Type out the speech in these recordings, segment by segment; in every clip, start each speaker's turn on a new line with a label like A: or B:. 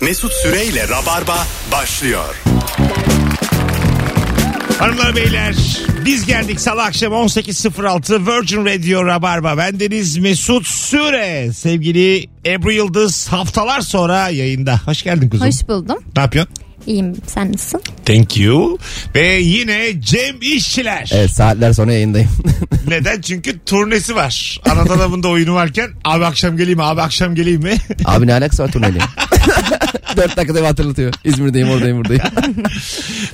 A: Mesut Süreyle Rabarba başlıyor.
B: Hanımlar beyler biz geldik salı akşam 18.06 Virgin Radio Rabarba. Bendeniz Mesut Süre. Sevgili Ebru Yıldız haftalar sonra yayında. Hoş geldin kuzum.
C: Hoş buldum.
B: Ne yapıyorsun?
C: İyiyim. Sen nasılsın?
B: Thank you. Ve yine Cem İşçiler.
D: Evet saatler sonra yayındayım.
B: Neden? Çünkü turnesi var. Anadolu'nda oyunu varken abi akşam geleyim mi? Abi akşam geleyim mi?
D: Abi ne alakası var turneyle? Dört dakikada bir hatırlatıyor. İzmir'deyim oradayım buradayım.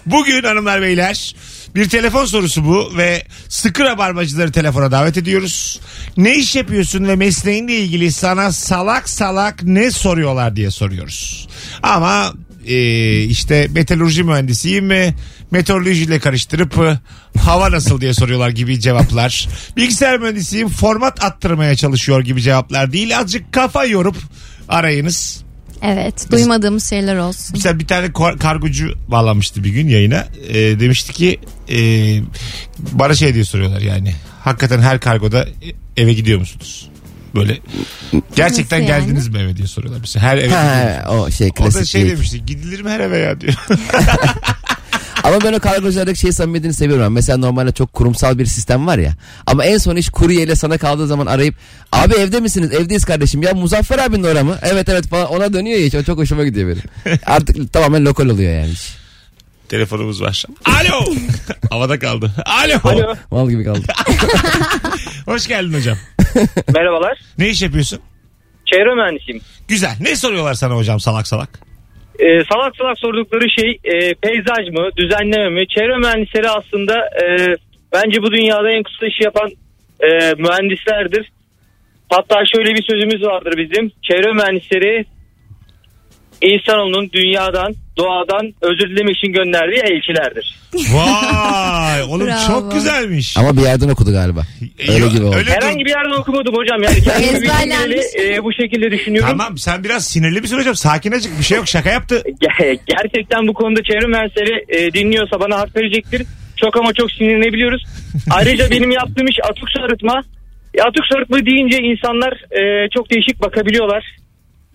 B: Bugün hanımlar beyler bir telefon sorusu bu ve sıkı rabarbacıları telefona davet ediyoruz. Ne iş yapıyorsun ve mesleğinle ilgili sana salak salak ne soruyorlar diye soruyoruz. Ama e, işte metalurji mühendisiyim mi? Meteorolojiyle karıştırıp e, hava nasıl diye soruyorlar gibi cevaplar. Bilgisayar mühendisiyim format attırmaya çalışıyor gibi cevaplar değil. Azıcık kafa yorup arayınız.
C: Evet. Duymadığımız şeyler olsun.
B: Mesela bir tane kar- kargocu bağlanmıştı bir gün yayına. Ee, demişti ki e, bana şey diye soruyorlar yani. Hakikaten her kargoda eve gidiyor musunuz? Böyle gerçekten
C: Nasıl yani?
B: geldiniz mi eve diye soruyorlar. Mesela her eve gidiyor.
D: ha, o şey
B: O da
D: klasik
B: şey
D: değil.
B: demişti gidilir mi her eve ya diyor.
D: Ama ben o kargoculardaki şey samimiyetini seviyorum. Ben. Mesela normalde çok kurumsal bir sistem var ya. Ama en son iş kuryeyle sana kaldığı zaman arayıp abi evde misiniz? Evdeyiz kardeşim. Ya Muzaffer abinin orası mı? Evet evet falan ona dönüyor ya hiç. O çok hoşuma gidiyor benim. Artık tamamen lokal oluyor yani.
B: Telefonumuz var. Alo. Havada kaldı. Alo.
E: Alo.
D: Mal gibi kaldı.
B: Hoş geldin hocam.
E: Merhabalar.
B: Ne iş yapıyorsun?
E: Çevre mühendisiyim.
B: Güzel. Ne soruyorlar sana hocam salak salak?
E: Ee, salak salak sordukları şey e, peyzaj mı, düzenleme mi? Çevre mühendisleri aslında e, bence bu dünyada en kısa işi yapan e, mühendislerdir. Hatta şöyle bir sözümüz vardır bizim. Çevre mühendisleri insanoğlunun dünyadan, doğadan özür dileme için gönderdiği elçilerdir.
B: Vay. Oğlum
C: Bravo.
B: çok güzelmiş.
D: Ama bir yerden okudu galiba. Öyle
B: Yok,
D: gibi oldu.
B: öyle
E: Herhangi bir yerden okumadım hocam. Yani kendimi
C: Ezberlenmiş.
E: bildiğimle, e, bu şekilde düşünüyorum.
B: Tamam sen biraz sinirli misin hocam? Sakin açık bir şey yok şaka yaptı.
E: Ger- gerçekten bu konuda çevre mühendisleri e, dinliyorsa bana harf verecektir. Çok ama çok sinirlenebiliyoruz. Ayrıca benim yaptığım iş atık sarıtma. E, atık sarıtma deyince insanlar e, çok değişik bakabiliyorlar.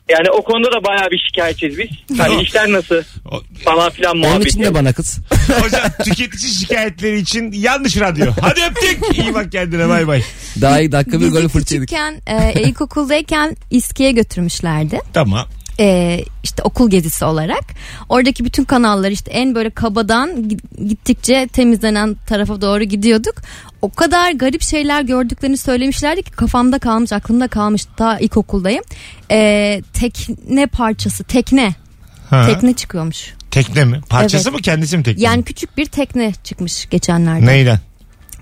E: Yani o konuda da bayağı bir şikayetçiyiz biz. Hani işler nasıl
B: O-
E: falan filan
D: Onun
E: muhabbeti.
D: için de bana kız.
B: hocam tüketici şikayetleri için yanlış radyo. Hadi öptük. İyi bak kendine bay bay.
D: Daha iyi dakika bir golü
C: Bizi
D: fırça yedik.
C: küçükken e, ilkokuldayken İSKİ'ye götürmüşlerdi.
B: Tamam.
C: E, işte okul gezisi olarak. Oradaki bütün kanallar işte en böyle kabadan gi- gittikçe temizlenen tarafa doğru gidiyorduk. O kadar garip şeyler gördüklerini söylemişlerdi ki kafamda kalmış, aklımda kalmış. Daha ilkokuldayım. E, tekne parçası, tekne.
B: Ha. Tekne.
C: Tekne çıkıyormuş.
B: mi? Parçası
C: Evet.
B: mı kendisi mi tekne?
C: Yani küçük bir tekne çıkmış geçenlerde.
B: Neyden?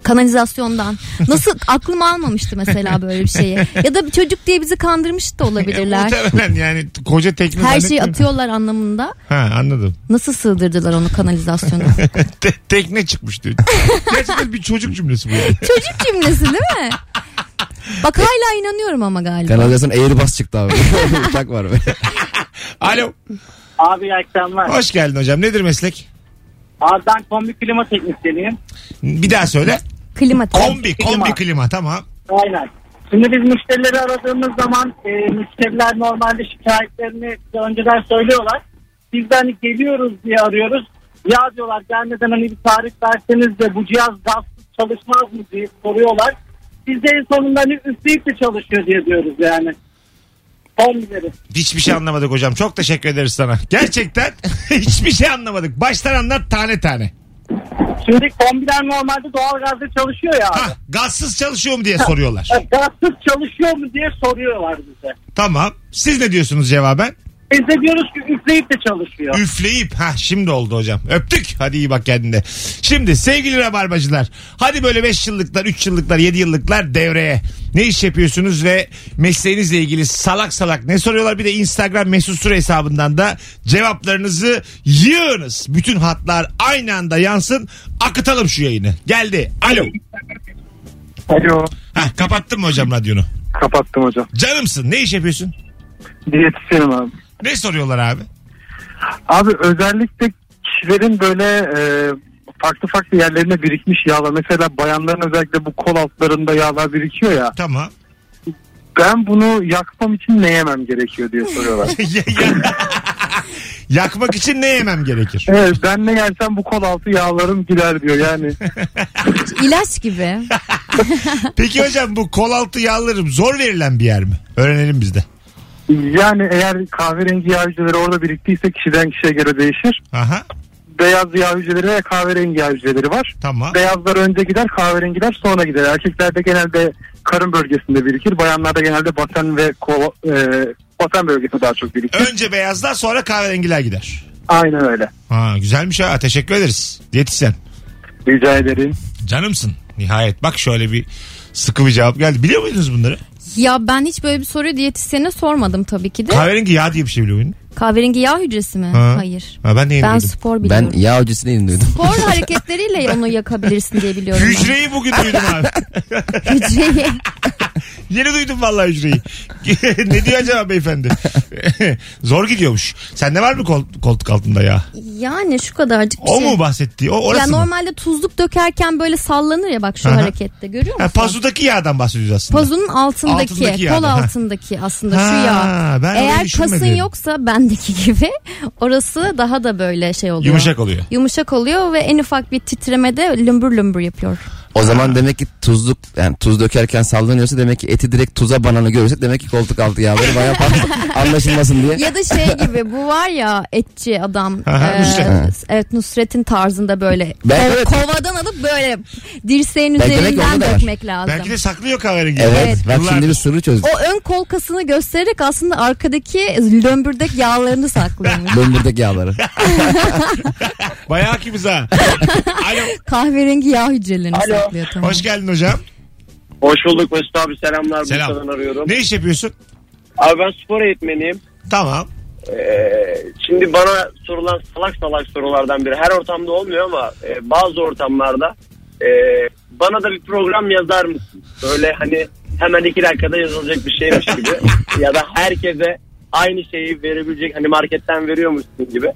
C: kanalizasyondan. Nasıl aklım almamıştı mesela böyle bir şeyi. Ya da bir çocuk diye bizi kandırmış da olabilirler.
B: Muhtemelen yani koca tekne.
C: E, Her şeyi
B: zannettim.
C: atıyorlar anlamında.
B: Ha anladım.
C: Nasıl sığdırdılar onu kanalizasyona?
B: Te- tekne çıkmış diyor. Gerçekten bir çocuk cümlesi bu. yani.
C: çocuk cümlesi değil mi? Bak
B: E,
C: hala inanıyorum ama galiba.
D: Kanalizasyon Airbus çıktı abi. Uçak var be.
B: Alo.
F: Abi iyi akşamlar.
B: Hoş geldin hocam. Nedir meslek?
F: Abi ben kombi klima teknisyeniyim.
B: Bir daha söyle.
C: Klima tabii.
B: Kombi, kombi klima tamam.
F: Aynen. Şimdi biz müşterileri aradığımız zaman e, müşteriler normalde şikayetlerini bize önceden söylüyorlar. Biz de hani geliyoruz diye arıyoruz. Ya diyorlar gelmeden hani bir tarih verseniz de bu cihaz gazsız çalışmaz mı diye soruyorlar. Biz de en sonunda hani üfleyip de çalışıyor diye diyoruz yani. Kombileri.
B: Hiçbir şey anlamadık hocam. Çok teşekkür ederiz sana. Gerçekten hiçbir şey anlamadık. Baştan anlat tane tane.
F: Şimdi kombiler normalde doğalgazla çalışıyor ya abi.
B: Ha, gazsız çalışıyor mu diye soruyorlar.
F: Gazsız çalışıyor mu diye soruyorlar bize.
B: Tamam. Siz ne diyorsunuz cevaben?
F: Biz de diyoruz ki üfleyip de çalışıyor.
B: Üfleyip. Ha şimdi oldu hocam. Öptük. Hadi iyi bak kendine. Şimdi sevgili rabarbacılar. Hadi böyle 5 yıllıklar, 3 yıllıklar, 7 yıllıklar devreye. Ne iş yapıyorsunuz ve mesleğinizle ilgili salak salak ne soruyorlar? Bir de Instagram mesut süre hesabından da cevaplarınızı yığınız. Bütün hatlar aynı anda yansın. Akıtalım şu yayını. Geldi. Alo.
G: Alo.
B: Ha kapattın mı hocam radyonu?
G: Kapattım hocam.
B: Canımsın. Ne iş yapıyorsun?
G: Diyetisyenim abi.
B: Ne soruyorlar abi?
G: Abi özellikle kişilerin böyle e, farklı farklı yerlerine birikmiş yağlar. Mesela bayanların özellikle bu kol altlarında yağlar birikiyor ya.
B: Tamam.
G: Ben bunu yakmam için ne yemem gerekiyor diye soruyorlar.
B: Ya- ya- Yakmak için ne yemem gerekir?
G: Evet, ben ne yersem bu kol altı yağlarım gider diyor yani.
C: İlaç gibi.
B: Peki hocam bu kol altı yağlarım zor verilen bir yer mi? Öğrenelim biz de.
G: Yani eğer kahverengi yağ hücreleri orada biriktiyse kişiden kişiye göre değişir.
B: Aha
G: Beyaz yağ hücreleri ve kahverengi yağ hücreleri var.
B: tamam.
G: Beyazlar önce gider kahverengiler sonra gider. Erkeklerde genelde karın bölgesinde birikir. Bayanlarda genelde basen ve kol, e, basen bölgesinde daha çok birikir.
B: Önce beyazlar sonra kahverengiler gider.
G: Aynen öyle.
B: Ha güzelmiş ha teşekkür ederiz. Diyetisyen.
G: Rica ederim.
B: Canımsın. Nihayet bak şöyle bir sıkı bir cevap geldi. Biliyor muydunuz bunları?
C: Ya ben hiç böyle bir soruyu diyetisyene sormadım tabii ki de.
B: Kahverengi yağ diye bir şey biliyor muydun?
C: Kahverengi yağ hücresi mi?
B: Ha.
C: Hayır.
B: Ha, ben de yeni
C: Ben
B: duydum.
C: spor
D: Ben
C: biliyorum.
D: yağ hocasını yeni duydum.
C: Spor hareketleriyle onu yakabilirsin diye biliyorum ben.
B: Hücreyi bugün duydum abi.
C: Hücreyi.
B: Yeni duydum vallahi hücreyi. ne diyor acaba beyefendi? Zor gidiyormuş. Sende var mı kol, koltuk altında ya?
C: Yani şu kadarcık bir
B: O
C: şey.
B: mu bahsettiği? O orası
C: ya
B: mı?
C: normalde tuzluk dökerken böyle sallanır ya bak şu
B: Aha.
C: harekette görüyor musun?
B: Ha, pazudaki yağdan bahsediyoruz aslında.
C: Pazunun altındaki,
B: Altındaki
C: kol
B: yani, ha.
C: altındaki aslında
B: Ha,
C: şu yağ.
B: ben öyle
C: Eğer kasın
B: düşünmedim.
C: yoksa bendeki gibi orası daha da böyle şey oluyor.
B: Yumuşak oluyor.
C: Yumuşak oluyor ve en ufak bir titremede lümbür lümbür yapıyor.
D: O zaman demek ki tuzluk yani tuz dökerken sallanıyorsa demek ki eti direkt tuza bananı görürsek demek ki koltuk altı yağları bayağı fazla anlaşılmasın diye.
C: Ya da şey gibi bu var ya etçi adam.
B: Aha, Nusret.
C: Evet Nusret'in tarzında böyle
D: Ben-
C: kov-
D: evet.
C: kovadan alıp böyle dirseğin
D: Belki- belki
C: üzerinden
D: onda da var.
C: dökmek lazım.
B: Belki de saklıyor kahverengi.
D: Evet,
C: Evet.
D: bak
B: Yıllardır.
D: şimdi bir sırrı çözdük.
C: O ön kol kasını göstererek aslında arkadaki lömbürdek yağlarını saklıyormuş.
D: Döndürdeki yağları.
B: Bayağı hakimiz ha. Alo.
C: Kahverengi yağ hücrelerini
E: Alo.
C: saklıyor tamam.
B: Hoş geldin hocam.
E: Hoş bulduk Mesut abi selamlar.
B: Selam.
E: Bursa'dan arıyorum.
B: Ne iş yapıyorsun?
E: Abi ben spor eğitmeniyim.
B: Tamam.
E: Ee, şimdi bana sorulan salak salak sorulardan biri. Her ortamda olmuyor ama e, bazı ortamlarda e, bana da bir program yazar mısın? Böyle hani hemen iki dakikada yazılacak bir şeymiş gibi. ya da herkese aynı şeyi verebilecek hani marketten veriyormuşsun gibi.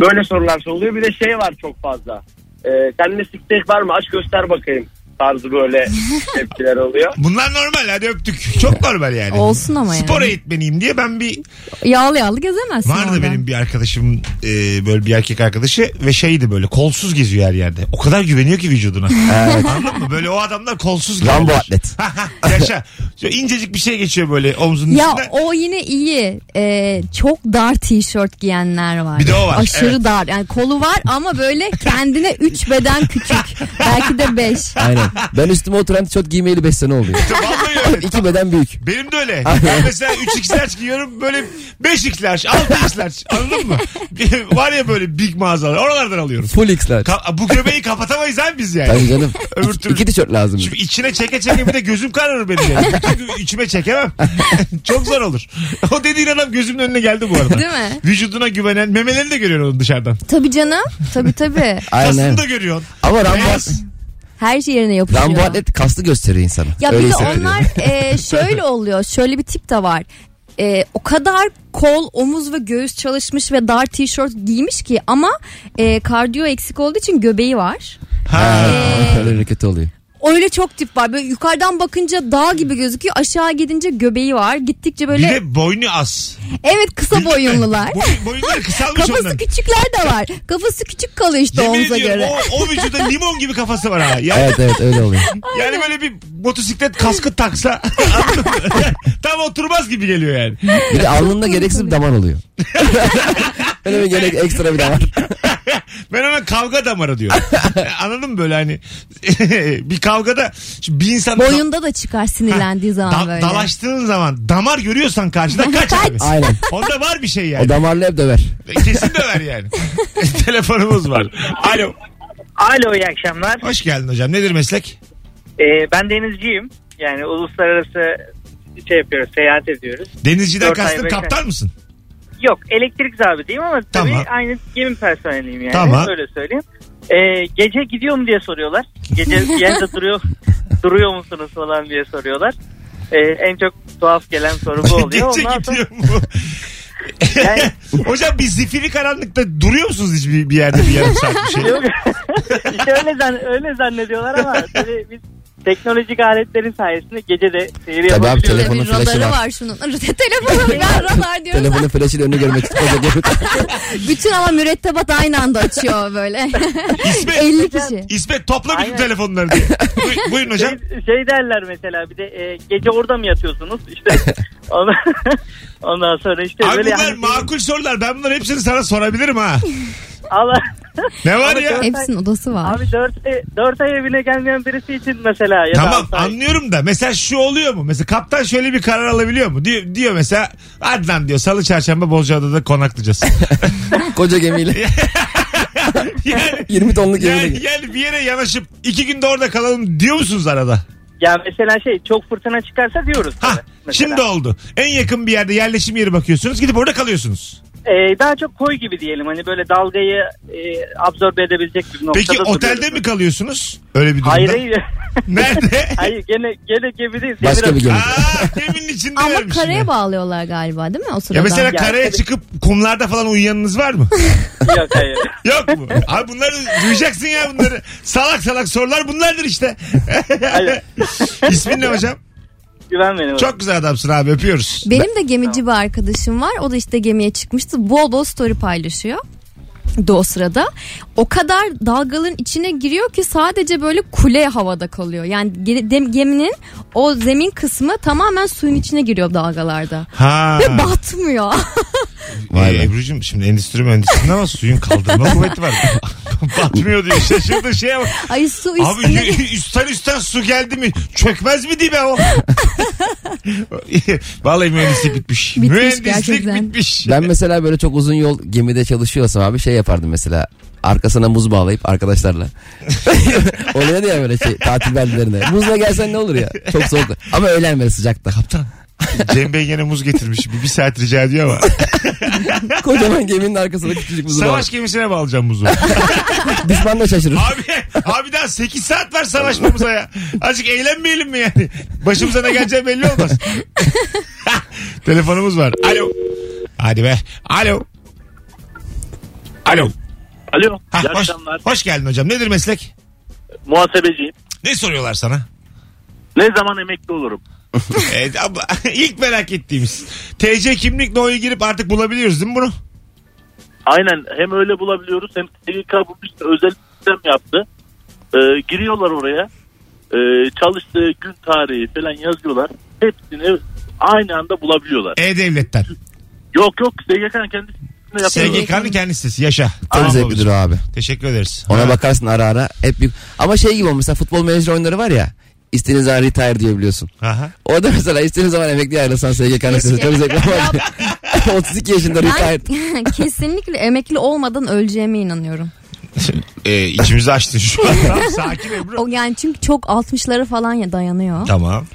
E: Böyle sorular soruluyor. Bir de şey var çok fazla. E, sende siktek var mı? Aç göster bakayım tarzı böyle tepkiler oluyor.
B: Bunlar normal hadi öptük. Çok normal yani.
C: Olsun ama yani.
B: Spor eğitmeniyim diye ben bir
C: Yağlı yağlı gezemezsin
B: Vardı
C: orada.
B: benim bir arkadaşım e, böyle bir erkek arkadaşı ve şeydi böyle kolsuz geziyor her yerde. O kadar güveniyor ki vücuduna. Anladın mı? Böyle o adamlar kolsuz geziyor.
D: Rambo atlet.
B: Yaşa. Şu incecik bir şey geçiyor böyle omzunun
C: Ya
B: üstünden.
C: o yine iyi. Ee, çok dar tişört giyenler var.
B: Bir de o var,
C: Aşırı
B: evet.
C: dar. Yani kolu var ama böyle kendine 3 beden küçük. Belki de 5.
D: Aynen. Ben üstüme oturan tişört giymeyeli 5 sene oldu.
B: Vallahi öyle.
D: İki beden büyük.
B: Benim de öyle. Ben mesela 3 xler giyiyorum böyle 5 xler 6 xler anladın mı? Var ya böyle big mağazalar oralardan alıyorum.
D: Full X'ler.
B: Ka- bu göbeği kapatamayız abi biz yani.
D: Tabii canım.
B: Öbür
D: İki,
B: türlü-
D: iki tişört lazım.
B: Şimdi içine çeke çeke bir de gözüm kararır benim. Yani. Bütün gün içime çekemem. Çok zor olur. O dediğin adam gözümün önüne geldi bu arada.
C: Değil mi?
B: Vücuduna güvenen memelerini de görüyorsun onun dışarıdan.
C: Tabii canım. Tabii tabii.
D: Aynen.
B: Kasını da görüyorsun.
D: Ama Rambo,
B: Beyaz.
C: Her şey yerine yapışıyor.
D: Rambo atlet kaslı gösteriyor insanı.
C: Ya
D: Öyle
C: bir de
D: hissettiriyor.
C: onlar e, şöyle oluyor. Şöyle bir tip de var. E, o kadar kol, omuz ve göğüs çalışmış ve dar tişört giymiş ki ama e, kardiyo eksik olduğu için göbeği var.
B: Ha.
C: Ee.
D: Ha, Öyle kötü oluyor.
C: Öyle çok tip var. Böyle yukarıdan bakınca dağ gibi gözüküyor. Aşağı gidince göbeği var. Gittikçe
B: Bir
C: Ee, böyle
B: de boynu az.
C: evet kısa boyunlular.
B: Boy, boyunları kısalmış
C: Kafası
B: onların.
C: küçükler de var. Kafası küçük kalıyor işte
B: Yemin
C: omuza
B: ediyorum
C: göre.
B: O, o vücuda limon gibi kafası var ha. Yani,
D: Evet evet öyle oluyor.
B: yani böyle bir motosiklet kaskı taksa anladın mı? tam oturmaz gibi geliyor yani.
D: Bir de alnında gereksiz bir damar oluyor. Öyle bir gerek ekstra bir damar.
B: Ben ona kavga damarı diyorum. Anladın mı böyle hani bir kavgada şimdi bir insan
C: Boyunda da çıkar sinirlendiği zaman
B: Da-
C: böyle.
B: dalaştığın zaman damar görüyorsan karşıda kaç abi.
D: Aynen.
B: Onda var bir şey
D: O
B: yani. E,
D: damarlı hep döver.
B: Kesin döver yani. Telefonumuz var. Alo.
H: Alo iyi akşamlar.
B: Hoş geldin hocam. Nedir meslek?
H: Ee, ben denizciyim. Yani uluslararası şey yapıyoruz, seyahat ediyoruz.
B: Denizciden
H: Dört ay
B: kastın
H: beş ay.
B: kaptan mısın?
H: Yok elektrik zabiteyim ama tabii
B: Tamam.
H: aynı gemi personeliyim yani.
B: Tamam.
H: Öyle söyleyeyim. Ee, gece gidiyor mu diye soruyorlar. Gece bir yerde duruyor, duruyor musunuz falan diye soruyorlar. Ee, en çok tuhaf gelen soru bu oluyor.
B: Gece
H: Ondan sonra
B: gidiyor mu?
H: Yani-
B: hocam bir zifiri karanlıkta duruyor musunuz hiçbir bir yerde bir yarım saat bir şey?
H: işte öyle, zann- öyle zannediyorlar ama tabii biz teknolojik aletlerin sayesinde gece de seyir
D: Tabii abi
H: yapabiliyoruz.
D: telefonun
C: Tabii radarı
D: flaşı
C: var.
D: var.
C: şunun. Telefonun var radar diyoruz.
D: Telefonun flaşıyla önünü görmek istiyorsa
C: Bütün ama mürettebat aynı anda açıyor böyle. 50 kişi.
B: İsmet topla bütün
H: Aynen.
B: telefonları diye. Buy- buyurun hocam.
H: Şey, şey derler mesela bir de e, gece orada mı yatıyorsunuz işte ondan, ondan sonra işte
B: Abi
H: böyle hani
B: bunlar
H: yani-
B: makul sorular. Ben bunların hepsini sana sorabilirim ha.
H: Allah
B: Ne var ya?
C: Hepsinin odası var.
H: abi 4 4 ay evine gelmeyen birisi için mesela ya da
B: Tamam
H: altı ay.
B: anlıyorum da mesela şu oluyor mu? Mesela kaptan şöyle bir karar alabiliyor mu? Diyor, diyor mesela Adnan diyor salı çarşamba Bozcaada'da konaklayacağız.
D: koca gemiyle.
B: yani,
D: 20 tonluk gemiyle.
B: yani, yani bir yere yanaşıp iki günde orada kalalım diyor musunuz arada?
H: Ya mesela şey çok fırtına çıkarsa diyoruz.
B: Ha
H: tabii mesela.
B: şimdi oldu. En yakın bir yerde yerleşim yeri bakıyorsunuz gidip orada kalıyorsunuz.
H: Ee, daha çok koy gibi diyelim hani böyle dalgayı e, absorbe edebilecek bir noktada.
B: Peki otelde
H: duruyoruz.
B: mi kalıyorsunuz? Öyle bir durumda.
H: Hayır hayır.
B: Nerede?
H: hayır gene gene gemideyiz.
D: Başka bir gemi.
B: Aa, geminin içinde
C: Ama
B: vermiş
C: karaya
B: yine.
C: bağlıyorlar galiba değil mi o sırada?
B: Ya mesela
H: Ya,
B: karaya
H: tabii.
B: çıkıp kumlarda falan uyuyanınız var mı?
H: gemi. Yok hayır.
B: Yok mu? Abi bunları duyacaksın ya bunları. Salak salak sorular bunlardır işte.
H: hayır.
B: İsmin ne hocam?
H: Güven benim.
B: Çok güzel adamsın abi öpüyoruz.
C: Benim de gemici bir arkadaşım var. O da işte gemiye çıkmıştı. Bol bol story paylaşıyor. De o sırada o kadar dalgaların içine giriyor ki sadece böyle kule havada kalıyor. Yani ge- dem- geminin o zemin kısmı tamamen suyun içine giriyor dalgalarda.
B: Ha.
C: Ve batmıyor.
D: Vay
B: Ee,
D: be.
B: Ebru'cum şimdi endüstri mühendisliğinde ama suyun kaldırma kuvveti var. Batmıyor diyor şaşırdı şeye bak.
C: Ay su
B: Abi
C: üstüne.
B: yu- üstten üstten su geldi mi çökmez mi diye o. Vallahi mühendislik bitmiş.
C: Bitmiş
B: mühendislik
C: gerçekten.
B: bitmiş.
D: Ben mesela böyle çok uzun yol gemide çalışıyorsam abi şey yapardım mesela. Arkasına muz bağlayıp arkadaşlarla. Oluyor ya böyle şey tatil beldelerinde. Muzla gelsen ne olur ya. Çok soğuk. Ama öğlen böyle sıcakta.
B: Kaptan. Cem Bey gene muz getirmiş. Bir, bir saat rica ediyor ama.
D: Kocaman geminin arkasına küçücük muzu bağlı.
B: Savaş gemisine bağlayacağım muzu.
D: Düşman da şaşırır.
B: Abi, abi daha 8 saat var savaşmamıza ya. Azıcık eğlenmeyelim mi yani? Başımıza ne geleceği belli olmaz. Telefonumuz var. Alo. Hadi be. Alo. Alo.
E: Alo.
B: Hah, hoş, hoş geldin hocam. Nedir meslek?
E: Muhasebeciyim.
B: Ne soruyorlar sana?
E: Ne zaman emekli olurum?
B: evet, abla, ilk merak ettiğimiz. TC kimlik no'ya girip artık bulabiliyoruz değil mi bunu?
E: Aynen hem öyle bulabiliyoruz hem TGK bu bir özel sistem yaptı. Ee, giriyorlar oraya. Ee, çalıştığı gün tarihi falan yazıyorlar. Hepsini aynı anda bulabiliyorlar.
B: E-Devlet'ten.
E: Yok yok SGK'nın kendi sisteminde yapıyorlar.
B: SGK'nın kendi sitesi. Yaşa.
D: Çok
B: Tamam
D: zevklidir o
B: babacığım.
D: abi.
B: Teşekkür ederiz.
D: Ona
B: Ha.
D: bakarsın ara ara. Hep bir... Ama şey gibi o mesela futbol menajer oyunları var ya. İstediğin zaman retire diyebiliyorsun.
B: Aha.
D: Orada mesela istediğin zaman emekli ayrılsan SGK'nın sitesinde çok zevkli var. 32 yaşında retire.
C: Ben kesinlikle emekli olmadan öleceğime inanıyorum.
B: Ee, içimizi açtın şu an. Tamam, sakin Ebru.
C: O yani çünkü çok 60'lara falan ya dayanıyor.
B: Tamam.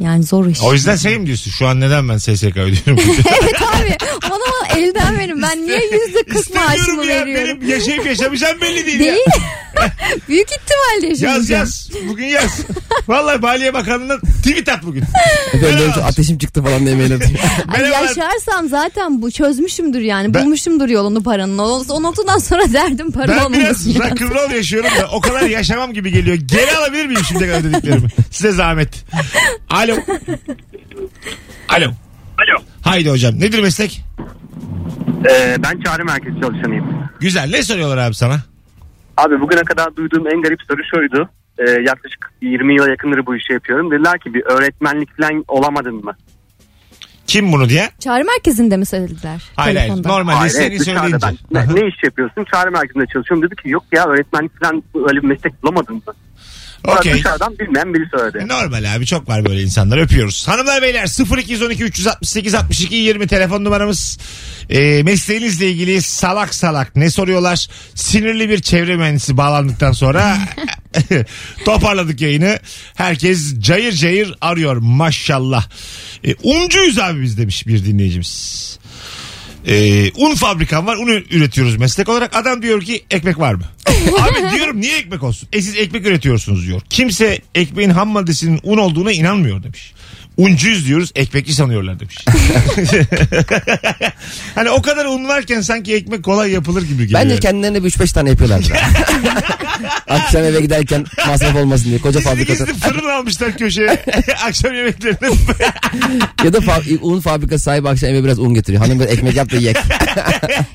C: Yani zor iş.
B: O yüzden şey mi diyorsun? Şu an neden ben SSK ödüyorum?
C: evet abi bana bana elden verin. Ben niye yüzde kırk maaşımı
B: İstemiyorum ya.
C: veriyorum?
B: Benim yaşayıp yaşamayacağım belli değil, ya.
C: Değil. Büyük ihtimalle
B: Yaz
C: yaşayacağım.
B: yaz. Bugün yaz. Vallahi Maliye Bakanlığı'na tweet at bugün.
D: Efendim benim
B: Merhaba.
D: ateşim çıktı falan diye mail atıyor.
C: Ay,
B: Merhabalar.
C: yaşarsam zaten bu çözmüşümdür yani.
B: Ben-
C: Bulmuşumdur yolunu paranın. O, o noktadan sonra derdim para
B: Ben
C: olmaması.
B: biraz rock'n'roll yaşıyorum da o kadar yaşamam gibi geliyor. Geri alabilir miyim şimdi kadar dediklerimi? Size zahmet. Alo. Alo.
G: Alo. Ee,
B: Haydi hocam. Nedir meslek?
G: ben çağrı merkezi çalışanıyım.
B: Güzel. Ne soruyorlar abi sana?
G: Abi bugüne kadar duyduğum en garip soru şuydu. Ee, yaklaşık 20 yıla yakındır bu işi yapıyorum. Dediler ki bir öğretmenlik falan olamadın mı?
B: Kim bunu diye?
C: Çağrı merkezinde mi söylediler?
B: Hayır hayır.
C: Telefonda.
B: Normal.
G: Hayır,
B: Seni
G: evet, dışarıda
B: söyleyince.
G: ben. Ne, ne iş yapıyorsun? Çağrı merkezinde çalışıyorum. Dedi ki yok ya öğretmenlik falan öyle bir meslek bulamadın mı? Sonra
B: Okey.
G: Dışarıdan bilmeyen biri söyledi.
B: Normal abi çok var böyle insanlar öpüyoruz. Hanımlar beyler 0212 368 62 20 telefon numaramız. Ee, mesleğinizle ilgili salak salak ne soruyorlar? Sinirli bir çevre mühendisi bağlandıktan sonra toparladık yayını. Herkes cayır cayır arıyor maşallah. Ee, uncuyuz abi biz demiş bir dinleyicimiz. Ee, un fabrikam var. Un üretiyoruz meslek olarak. Adam diyor ki ekmek var mı? Abi diyorum niye ekmek olsun? E siz ekmek üretiyorsunuz diyor. Kimse ekmeğin ham maddesinin un olduğuna inanmıyor demiş. uncuyuz diyoruz ekmekçi sanıyorlar demiş. hani o kadar un varken sanki ekmek kolay yapılır gibi geliyor.
D: Bence
B: yani.
D: kendilerine bir 3-5 tane yapıyorlardır. Akşam eve giderken masraf olmasın diye koca
B: Gizli
D: fabrikası.
B: gizli fırın almışlar köşeye akşam yemeklerini.
D: ya da fa- un fabrikası sahibi akşam eve biraz un getiriyor. Hanım böyle ekmek yap da yiyek.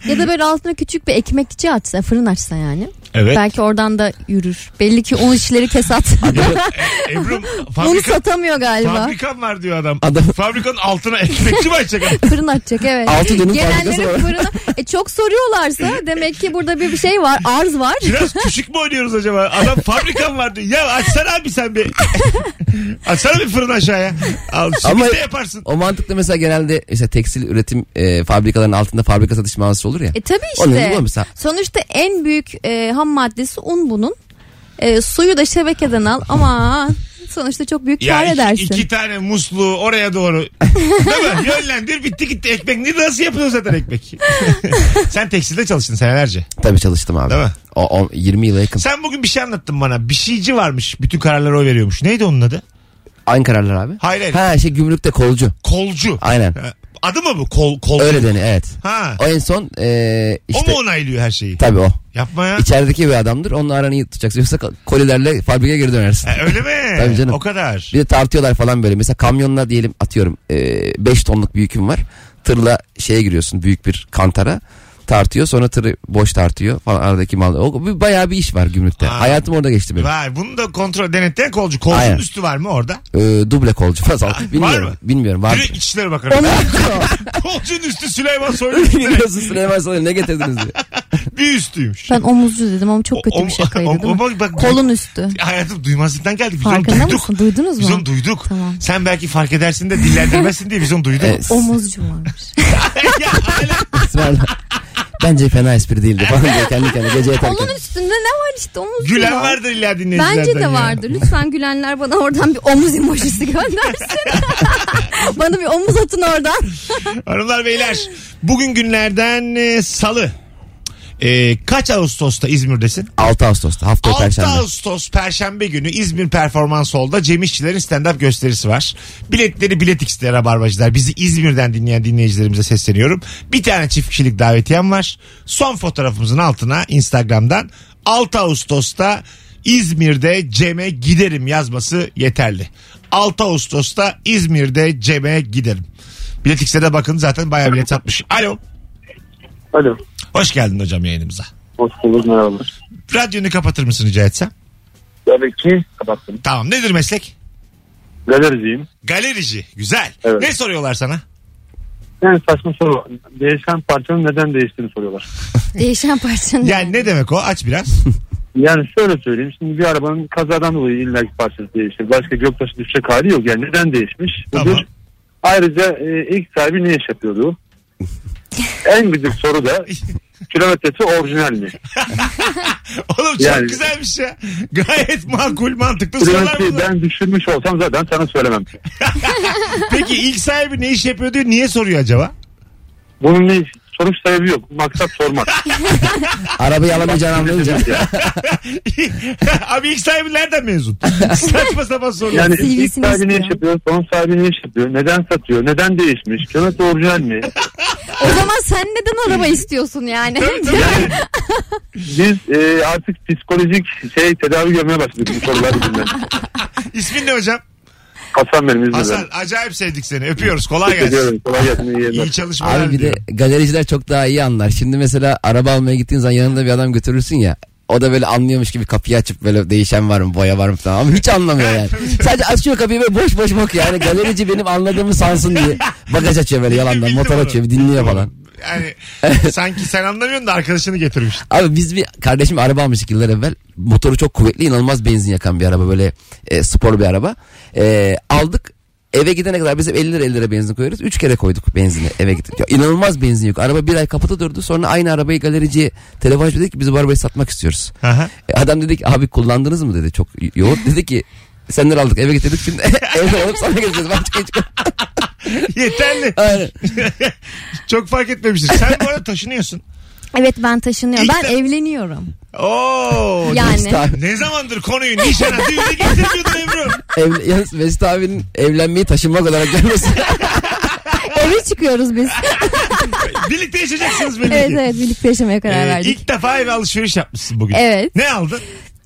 C: Ya da böyle altına küçük bir ekmekçi açsa, fırın açsa yani.
B: evet.
C: Belki oradan da yürür. Belli ki un işleri kesat. Unu
B: Ebru'm fabrika,
C: satamıyor galiba.
B: fabrikan var diyor adam.
D: Adam-
B: Fabrikanın altına ekmekçi mi açacak?
C: Fırın açacak evet.
D: Altı dönüm fabrikası
C: Gelenlerin
D: var.
C: fırını e, çok soruyorlarsa demek ki burada bir bir şey var arz var.
B: Biraz küçük mü oynuyoruz acaba? Adam fabrikan var diyor. Ya açsana abi sen bir. açsana bir fırın aşağıya. Al
D: Ama-
B: simit de yaparsın.
D: O mantıkla mesela genelde işte tekstil üretim e, fabrikalarının altında fabrika satış mağazası olur ya.
C: E tabii
D: Onun
C: işte.
D: gibi mesela.
C: Sonuçta en büyük e, ham maddesi un bunun. E, suyu da şebekeden al ama sonuçta çok büyük
B: Ya
C: kar
B: iki,
C: edersin.
B: iki tane musluğu oraya doğru değil mi? yönlendir bitti gitti ekmek. Ne nasıl yapıyorsun zaten ekmek? sen tekstilde çalıştın senelerce
D: Tabii çalıştım abi.
B: değil mi?
D: O, o 20 yıla yakın.
B: Sen bugün bir şey anlattın bana. Bir şeyci varmış bütün kararları o veriyormuş. Neydi onun adı?
D: Aynı kararlar abi.
B: Hayır hayır.
D: Ha şey gümrükte kolcu.
B: Kolcu.
D: Aynen.
B: Ha, Adı mı bu? Kol, kolcu.
D: Öyle deniyor evet.
B: Ha.
D: O en son e, işte.
B: O mu onaylıyor her şeyi?
D: Tabii o.
B: Yapma ya.
D: İçerideki bir adamdır. Onunla aranı iyi tutacaksın. Yoksa kolilerle fabrikaya geri dönersin.
B: Ha, öyle mi?
D: Tabii canım.
B: O kadar.
D: Bir de tartıyorlar falan böyle. Mesela kamyonla diyelim atıyorum 5 tonluk bir yükün var. Tırla şeye giriyorsun büyük bir kantara tartıyor sonra tırı boş tartıyor falan aradaki mal. O, bir- bayağı bir iş var gümrükte.
B: Aa.
D: Hayatım orada geçti benim.
B: Vay bunu da kontrol denetleyen kolcu. Kolcunun
D: Aynen.
B: üstü var mı orada?
D: E, duble kolcu falan. Bilmiyorum.
B: mı?
D: Bilmiyorum var.
B: Direkt İçişleri Bakanı. Kolcunun üstü Süleyman Soylu.
D: Biliyorsun Süleyman Soylu ne getirdiniz diye.
B: bir üstüymüş.
C: Ben omuzcu dedim ama çok kötü
B: O-
C: bir şakaydı
B: o-
C: değil mi?
B: bak- bak-
C: Kolun üstü.
B: Hayatım duymazlıktan geldik. Biz onu
C: Farkında
B: duyduk.
C: mısın? Duydunuz mu?
B: Biz onu duyduk.
C: Tamam.
B: Sen belki fark edersin de dillendirmezsin diye biz onu duyduk.
D: Evet.
C: Omuzcu varmış.
B: ya, hala
D: Israrla. Bence fena espri değildi falan diye kendi kendine gece yatarken.
C: Kolun üstünde ne var işte omuzcu
B: gülen
C: var.
B: vardır illa dinleyicilerden.
C: Bence de
B: ya.
C: vardır. Lütfen gülenler bana oradan bir omuz emojisi göndersin. bana bir omuz atın oradan.
B: Hanımlar beyler bugün günlerden e, salı. E, kaç Ağustos'ta İzmir'desin?
D: 6 Ağustos'ta haftaya
B: 6
D: perşembe.
B: Ağustos Perşembe günü İzmir Performans Hall'da Cem İşçilerin stand-up gösterisi var. Biletleri Bilet X'de Rabarbacılar. Bizi İzmir'den dinleyen dinleyicilerimize sesleniyorum. Bir tane çift kişilik davetiyem var. Son fotoğrafımızın altına Instagram'dan 6 Ağustos'ta İzmir'de Cem'e giderim yazması yeterli. 6 Ağustos'ta İzmir'de Cem'e giderim. Bilet X'e de bakın zaten bayağı bilet satmış. Alo.
G: Alo.
B: Hoş geldin hocam yayınımıza.
G: Hoş bulduk merhaba.
B: Radyonu kapatır mısın rica etsem?
G: Tabii ki kapattım.
B: Tamam nedir meslek?
G: Galericiyim.
B: Galerici. Güzel.
G: Evet.
B: Ne soruyorlar sana?
G: Yani saçma soru. Değişen parçanın neden değiştiğini soruyorlar.
C: Değişen parçanın.
B: Yani ne demek o? Aç biraz.
G: Yani şöyle söyleyeyim. Şimdi bir arabanın kazadan dolayı illaki parçası değişir. Başka göktaşı düşecek hali yok. Yani neden değişmiş? Bu
B: Tamam.
G: bir. Ayrıca e, ilk sahibi ne iş yapıyordu? en büyük soru da kilometresi orijinal mi?
B: Oğlum çok
G: Yani-
B: güzelmiş ya. Gayet makul mantıklı sorular
G: Kilometreyi
B: bunlar.
G: ben düşürmüş olsam zaten sana söylemem.
B: Peki ilk sahibi ne iş yapıyor diyor. Niye soruyor acaba?
G: Bunun ne sonuç sebebi yok. Maksat sormak.
D: Arabayı alamayacağını anlayınca.
B: Abi ilk sahibi nereden mezun? Saçma sapan sorular.
G: Yani
C: CV'sini
G: ilk sahibi ne
C: istiyor.
G: iş yapıyor? Son sahibi ne iş yapıyor? Neden satıyor? Neden değişmiş? Kilometre orijinal mi?
C: O zaman sen neden araba istiyorsun yani?
G: Yani biz e, artık psikolojik şey tedavi görmeye başladık bu sorular yüzünden.
B: İsmin ne hocam?
G: Hasan benim İzmir'den.
B: Hasan acayip sevdik seni. Öpüyoruz. Kolay
G: Teşekkür
B: gelsin.
G: ederim. Kolay gelsin. iyi yayınlar.
B: İyi çalışmalar.
D: Abi bir de
B: diliyorum.
D: galericiler çok daha iyi anlar. Şimdi mesela araba almaya gittiğin zaman yanında bir adam götürürsün ya. O da böyle anlıyormuş gibi kapıyı açıp böyle değişen var mı boya var mı falan ama hiç anlamıyor yani. Sadece açıyor kapıyı böyle boş boş bakıyor. Yani galerici benim anladığımı sansın diye. Bagaj açıyor böyle yalandan
B: Bildim
D: motor
B: onu.
D: açıyor bir dinliyor falan.
B: Yani sanki sen anlamıyorsun da arkadaşını getirmiş.
D: Abi biz bir kardeşim araba almıştık yıllar evvel. Motoru çok kuvvetli inanılmaz benzin yakan bir araba böyle e, spor bir araba. E, aldık eve gidene kadar biz hep 50 lira 50 lira benzin koyuyoruz. 3 kere koyduk benzini eve gittik. Ya, inanılmaz benzin yok. Araba bir ay kapıda durdu. Sonra aynı arabayı galericiye telefon açıp dedik ki biz bu arabayı satmak istiyoruz.
B: Aha.
D: E, adam dedi ki abi kullandınız mı dedi çok yoğun. Dedi ki senden aldık eve getirdik şimdi evden alıp sana getireceğiz. Ben çıkayım çıkayım.
B: Yeterli.
D: Aynen.
B: Çok fark etmemiştir. Sen bu arada taşınıyorsun.
C: Evet ben taşınıyorum.
B: İlk
C: Ben
B: de-
C: evleniyorum.
B: Oo.
C: Yani.
D: Mesut abi-
B: Ne zamandır konuyu nişan atı yüzü getirmiyordun Ebru.
D: Ev, yalnız Mesut abinin evlenmeyi taşınmak olarak görmesi.
C: Eve çıkıyoruz biz.
B: Birlikte yaşayacaksınız belli
C: evet
B: ki.
C: evet birlikte yaşamaya karar
B: Ee,
C: verdik.
B: ilk defa eve alışveriş yapmışsın bugün.
C: Evet.
B: Ne aldın?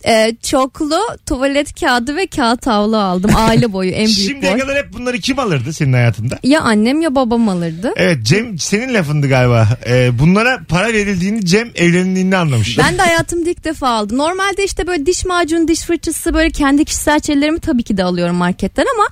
C: Ee, çoklu tuvalet kağıdı ve kağıt havlu aldım. Aile boyu en büyük
B: Şimdiye
C: boy.
B: kadar hep bunları kim alırdı senin hayatında?
C: Ya annem ya babam alırdı.
B: Evet Cem senin lafındı galiba. Ee, bunlara para verildiğini Cem evlenildiğini anlamış.
C: Ben de hayatımda ilk defa aldım. Normalde işte böyle diş macunu, diş fırçası böyle kendi kişisel şeylerimi tabii ki de alıyorum marketten ama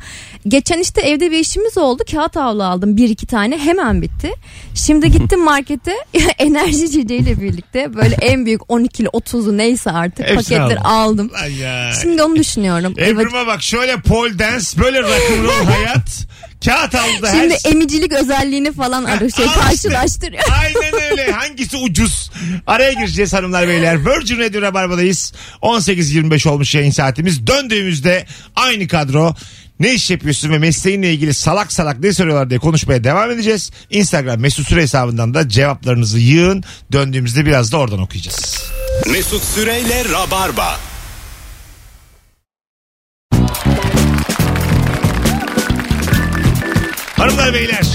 C: geçen işte evde bir işimiz oldu. Kağıt havlu aldım bir iki tane hemen bitti. Şimdi gittim markete enerji içeceğiyle birlikte böyle en büyük 12'li 30'lu neyse artık
B: Hepsini E,
C: paketleri aldım.
B: Lan ya.
C: Şimdi onu düşünüyorum. Evet.
B: Ebru'ma bak şöyle pole dance böyle rock'n'roll hayat. Kağıt havluda her
C: Şimdi
B: şey.
C: emicilik özelliğini falan arıyor şey
B: Al işte.
C: karşılaştırıyor.
B: Aynen öyle. Hangisi ucuz? Araya gireceğiz hanımlar beyler. Virgin Radio Rabarba'dayız. 18.25 olmuş yayın saatimiz. Döndüğümüzde aynı kadro. Ne iş yapıyorsun ve mesleğinle ilgili salak salak ne soruyorlar diye konuşmaya devam edeceğiz. Instagram mesut süre hesabından da cevaplarınızı yığın. Döndüğümüzde biraz da oradan okuyacağız.
A: Mesut Süreyle Rabarba.
B: Hanımlar beyler.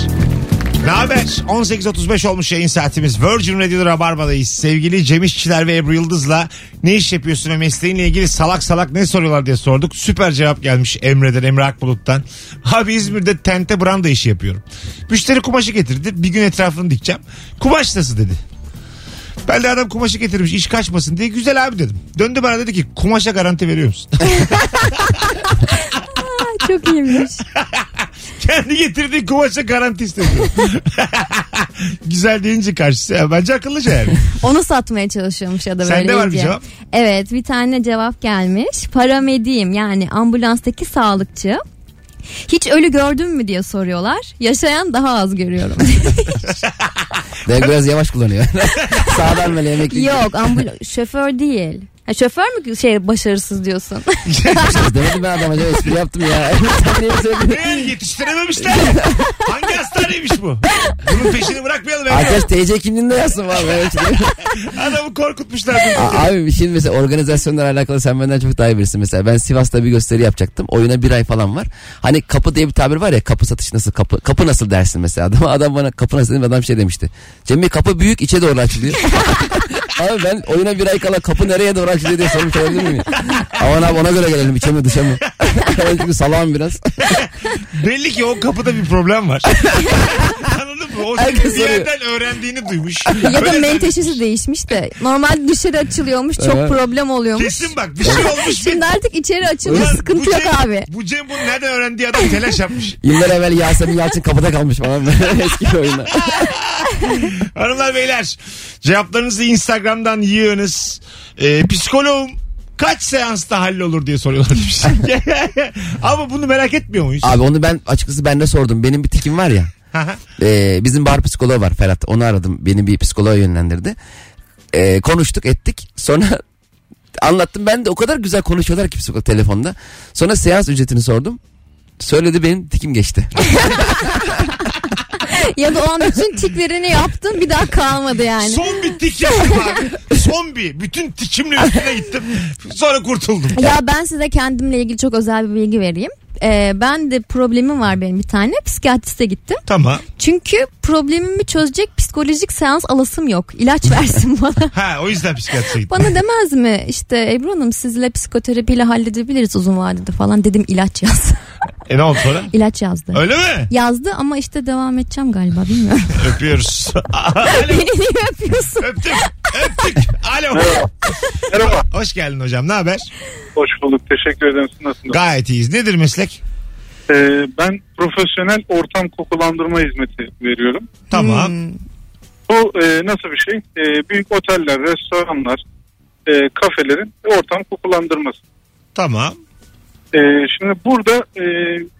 B: Ne haber? 18.35 olmuş yayın saatimiz. Virgin Radio Rabarba'dayız. Sevgili Cem İşçiler ve Ebru Yıldız'la ne iş yapıyorsun ve mesleğinle ilgili salak salak ne soruyorlar diye sorduk. Süper cevap gelmiş Emre'den, Emre Akbulut'tan. Abi İzmir'de tente branda işi yapıyorum. Müşteri kumaşı getirdi. Bir gün etrafını dikeceğim. Kumaş nasıl dedi. Ben de adam kumaşı getirmiş iş kaçmasın diye güzel abi dedim. Döndü bana dedi ki kumaşa garanti veriyor musun?
C: Ay, Çok iyiymiş.
B: Kendi getirdiği kumaşa garanti istedi. Güzel deyince karşısı. Ya Bence akıllıca yani.
C: Onu satmaya çalışıyormuş ya da böyle.
B: Sende var bir
C: iyice.
B: cevap.
C: Evet bir tane cevap gelmiş. Paramediğim yani ambulanstaki sağlıkçı. Hiç ölü gördün mü diye soruyorlar. Yaşayan daha az görüyorum.
D: Ben biraz yavaş kullanıyor. Sağdan böyle yemek yiyor.
C: Yok ambul- şoför değil. Ha, şoför mü şey başarısız diyorsun?
D: Demedim ben adama acaba espri yaptım ya. Sen niye söyledin?
B: Yani yetiştirememişler. Hangi hastaneymiş bu? Bunun peşini bırakmayalım. Emre.
D: Arkadaş TC kimliğinde yazsın var. Ben hiç-
B: Adamı korkutmuşlar.
D: A- Abi şimdi mesela organizasyonlar alakalı sen benden çok daha iyi bilirsin. Mesela ben Sivas'ta bir gösteri yapacaktım. Oyuna bir ay falan var. Hani kapı diye bir tabir var ya kapı satışı nasıl kapı kapı nasıl dersin mesela. Adam, adam bana kapı nasıl dedim adam şey demişti. Cem Bey kapı büyük içe doğru açılıyor. abi ben oyuna bir ay kala kapı nereye doğru açılıyor diye sormuş olabilir miyim? Aman abi ona göre gelelim içe mi dışa mı? Ben Çünkü salağım biraz.
B: Belli ki o kapıda bir problem var. Anladın mı? O senin
D: Herkes
B: bir
D: soruyor.
B: yerden öğrendiğini duymuş.
C: ya da
B: Öyle
C: menteşesi değişmiş de. Normal dışarı açılıyormuş çok
D: Evet.
C: problem
B: zannediyor.
C: oluyormuş.
B: Kesin bak bir şey olmuş. bir-
C: Şimdi artık içeri açılıyor
B: Ulan
C: sıkıntı
B: bu şey-
C: yok
B: Cem-
C: abi.
B: Bu Cem bunu nereden öğrendiği adam telaş yapmış.
D: Yıllar evvel Yasemin Yalçın kapıda kalmış falan eski bir oyunda.
B: Hanımlar beyler cevaplarınızı Instagram'dan yığınız. Ee, psikoloğum kaç seansta hallolur diye soruyorlar demiş. Ama bunu merak etmiyor muyuz?
D: Abi onu ben açıkçası ben de sordum. Benim bir tikim var ya. Ee, bizim bar psikoloğu var Ferhat. Onu aradım. Beni bir psikoloğa yönlendirdi. Ee, konuştuk ettik. Sonra anlattım. Ben de o kadar güzel konuşuyorlar ki psikolog telefonda. Sonra seans ücretini sordum. Söyledi benim tikim geçti.
C: ya da o an bütün tiklerini yaptın bir daha kalmadı yani.
B: Son bir tik yaptım abi. Son bir. Bütün tikimle üstüne gittim. Sonra kurtuldum.
C: Ya ben size kendimle ilgili çok özel bir bilgi vereyim. Ee, ben de problemim var benim bir tane. Psikiyatriste gittim.
B: Tamam.
C: Çünkü problemimi çözecek psikolojik seans alasım yok. İlaç versin bana.
B: Ha o yüzden psikiyatriye gittim.
C: Bana demez mi işte Ebru Hanım sizle psikoterapiyle halledebiliriz uzun vadede falan. Dedim ilaç yaz.
B: E ne oldu sonra?
C: ilaç yazdı.
B: Öyle mi?
C: Yazdı ama işte devam edeceğim galiba bilmiyorum.
B: Öpüyoruz. Alo.
C: Beni niye yapıyorsun?
B: Öptük. Öptük. Alo.
I: Merhaba.
B: Hoş geldin hocam. Ne haber?
I: Hoş bulduk. Teşekkür ederim. Siz nasılsınız?
B: Gayet iyiyiz. Nedir meslek?
I: Ee, ben profesyonel ortam kokulandırma hizmeti veriyorum.
B: Tamam.
I: Bu e, nasıl bir şey? E, büyük oteller, restoranlar, e, kafelerin ortam kokulandırması.
B: Tamam.
I: E, şimdi burada e,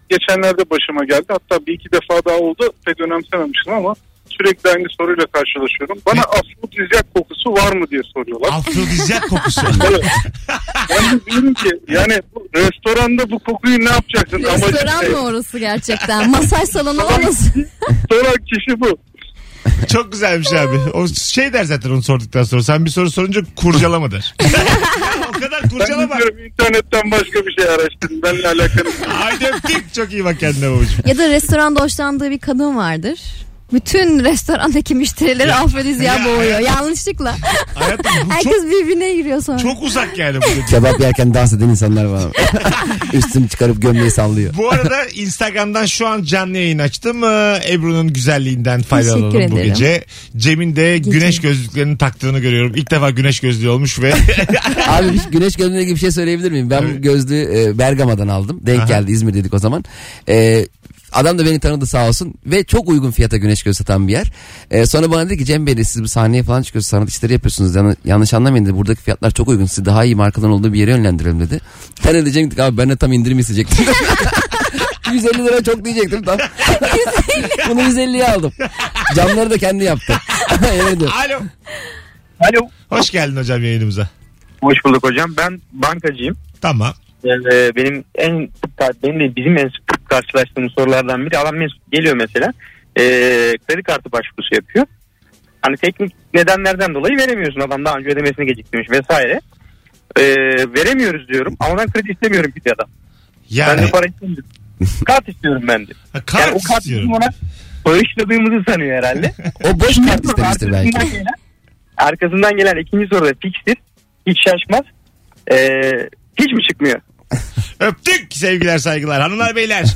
I: geçenlerde başıma geldi. Hatta bir iki defa daha oldu. Pek önemsememiştim ama sürekli aynı soruyla karşılaşıyorum. Bana afrodizyak kokusu var mı diye soruyorlar.
B: Afrodizyak kokusu.
I: Evet. ben de diyorum ki yani bu restoranda bu kokuyu ne yapacaksın? Amacın
C: Restoran
I: ne?
C: mı orası gerçekten? Masaj salonu olmasın?
I: Soran kişi bu.
B: Çok güzelmiş abi. O şey der zaten onu sorduktan sonra. Sen bir soru sorunca kurcalama der. o kadar
I: Ben
B: kurcalama.
I: diyorum internetten başka bir şey araştırdım. Benle alakalı. şey.
B: Haydi öptük. Çok iyi bak kendine babacığım.
C: Ya da restoranda hoşlandığı bir kadın vardır. Bütün restorandaki müşterileri afrodizya
B: ya,
C: boğuyor.
B: hayatım.
C: Yanlışlıkla.
B: Hayatım bu çok,
C: Herkes birbirine giriyor sonra.
B: çok uzak yani bu dediğin.
D: Kebap yerken dans eden insanlar var. Üstünü çıkarıp gömleği sallıyor.
B: Bu arada Instagram'dan şu an canlı yayın açtım. Ee, Ebru'nun güzelliğinden faydalanalım
C: Teşekkür
B: bu
C: ederim.
B: gece. Cem'in de güneş gözlüklerini taktığını görüyorum. İlk defa güneş gözlüğü olmuş ve
D: Abi bir- güneş gözlüğüne gibi bir şey söyleyebilir miyim? Ben bu gözlüğü e, Bergama'dan aldım. Denk
B: Aha.
D: geldi İzmir dedik o zaman. E, adam da beni tanıdı sağ olsun. Ve çok uygun fiyata güneş gözlüğü satan bir yer. E, sonra bana dedi ki Cem Bey siz bu sahneye falan çıkıyorsunuz. Sanat işleri yapıyorsunuz. Yani, yanlış anlamayın dedi. Buradaki fiyatlar çok uygun. Sizi daha iyi markadan olduğu bir yere yönlendirelim dedi. Ben de diyecektik abi ben de tam indirim isteyecektim. 150 lira çok diyecektim tam. Bunu 150'ye aldım. Camları da kendi yaptı. Yemin ediyorum.
B: alo.
E: Alo.
B: Hoş geldin hocam yayınımıza.
E: Hoş bulduk hocam. Ben bankacıyım.
B: Tamam.
E: Ee, benim en benim de bizim en sık karşılaştığım sorulardan biri adam mesut geliyor mesela ee, kredi kartı başvurusu yapıyor. Hani teknik nedenlerden dolayı veremiyorsun adam daha önce ödemesini geciktirmiş vesaire. Ee, veremiyoruz diyorum ama ben kredi istemiyorum bir adam. Ben
B: Yani
E: de para istemiyorum. kart istiyorum ben de.
B: Ha,
E: Yani
B: kart
E: o kart
B: istiyorum.
E: bizim ona bağışladığımızı sanıyor herhalde.
D: O boş kart istemiştir belki.
E: Arkasından gelen- Arkasından gelen ikinci soruda fikstir. Hiç şaşmaz. Ee, hiç mi çıkmıyor?
B: Öptük sevgiler saygılar hanımlar beyler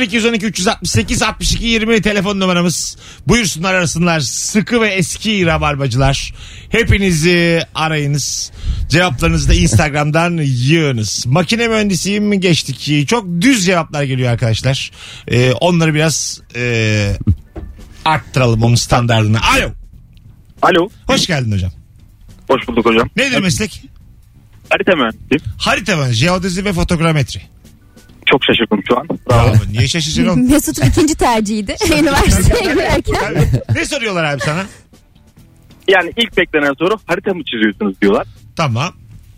B: 0212 368 62 20 telefon numaramız buyursunlar arasınlar sıkı ve eski rabarbacılar hepinizi arayınız cevaplarınızı da instagramdan yığınız makine mühendisiyim mi geçtik çok düz cevaplar geliyor arkadaşlar Ee, onları biraz e, arttıralım onun standartını alo
I: Alo.
B: hoş geldin hocam
I: Hoş bulduk hocam.
B: nedir meslek
I: Harita mühendisiyim.
B: harita mühendisi jeodezi ve fotogrametri
I: Çok şaşırdım şu an.
B: Bravo. Niye şaşıracaksın oğlum?
C: Mesut'un ikinci tercihiydi. Üniversiteye girerken.
B: Abi, ne soruyorlar abi sana?
I: Yani ilk beklenen soru harita mı çiziyorsunuz diyorlar.
B: Tamam.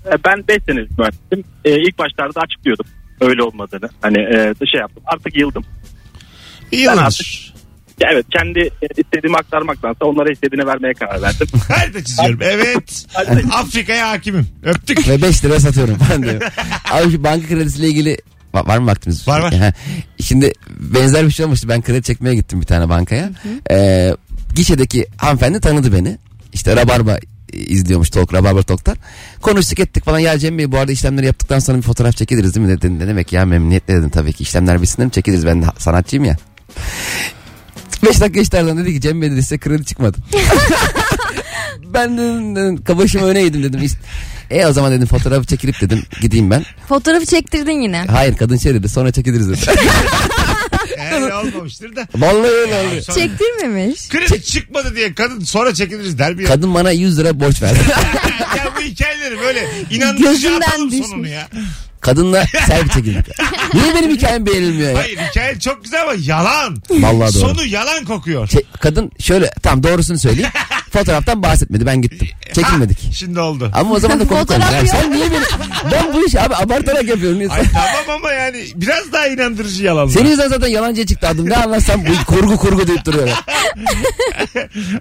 I: E, Ben 5 senelik mühendisim. E, ilk başlarda açıklıyordum öyle olmadığını. Hani e, şey yaptım. Artık yıldım.
B: İyi
I: Ben
B: yıllardır.
I: Ya Evet kendi e, istediğimi aktarmaktansa onlara istediğini vermeye karar verdim.
B: Harita çiziyorum. Evet. Afrika'ya hakimim. Öptük.
D: ve 5 lira satıyorum falan diyor. Abi şu banka kredisiyle ilgili Va- var mı vaktimiz?
B: Var, var.
D: Ha. Şimdi benzer bir şey olmuştu. Ben kredi çekmeye gittim bir tane bankaya. Ee, gişedeki hanımefendi tanıdı beni. İşte Rabarba e, izliyormuş Talk, Rabarba Talk'tan. Konuştuk ettik falan. Ya Cem Bey bu arada işlemleri yaptıktan sonra bir fotoğraf çekiliriz değil mi? Dedim ne demek ya memnuniyetle dedim tabii ki. İşlemler bitsin mi çekiliriz ben de ha- sanatçıyım ya. 5 dakika geçti aradan dedi ki Cem Bey dedi size kredi çıkmadı. ben dedim, dedim kabaşımı öne eğdim dedim. İşte, e o zaman dedim fotoğrafı çekilip dedim gideyim ben.
C: Fotoğrafı çektirdin yine.
D: Hayır kadın şey dedi sonra çekiliriz dedi.
B: Öyle olmamıştır da.
D: Vallahi öyle oldu.
B: Sonra-
C: Çektirmemiş.
B: Kredi çıkmadı diye kadın sonra çekiliriz der mi ya?
D: Kadın bana 100 lira borç verdi.
B: ya bu hikayeleri böyle inandırıcı
C: Gözünden
B: atalım
C: düşmüş.
B: sonunu ya.
D: Kadınla selfie çekildik. Niye benim hikayem beğenilmiyor ya?
B: Hayır hikaye çok güzel ama yalan.
D: Vallahi doğru.
B: Sonu yalan kokuyor.
D: Şey, kadın şöyle tam doğrusunu söyleyeyim. Fotoğraftan bahsetmedi ben gittim. Çekinmedik.
B: Ha, şimdi oldu.
D: Ama o zaman da komik olmuş.
C: Fotoğraf
D: Yani
C: yok.
D: sen niye beni... Ben bu işi abi abartarak yapıyorum. Niye-
B: Ay tamam ama yani biraz daha inandırıcı yalan.
D: Senin yüzünden zaten yalancıya çıktı adım. Ne anlatsam bu kurgu kurgu deyip duruyorlar.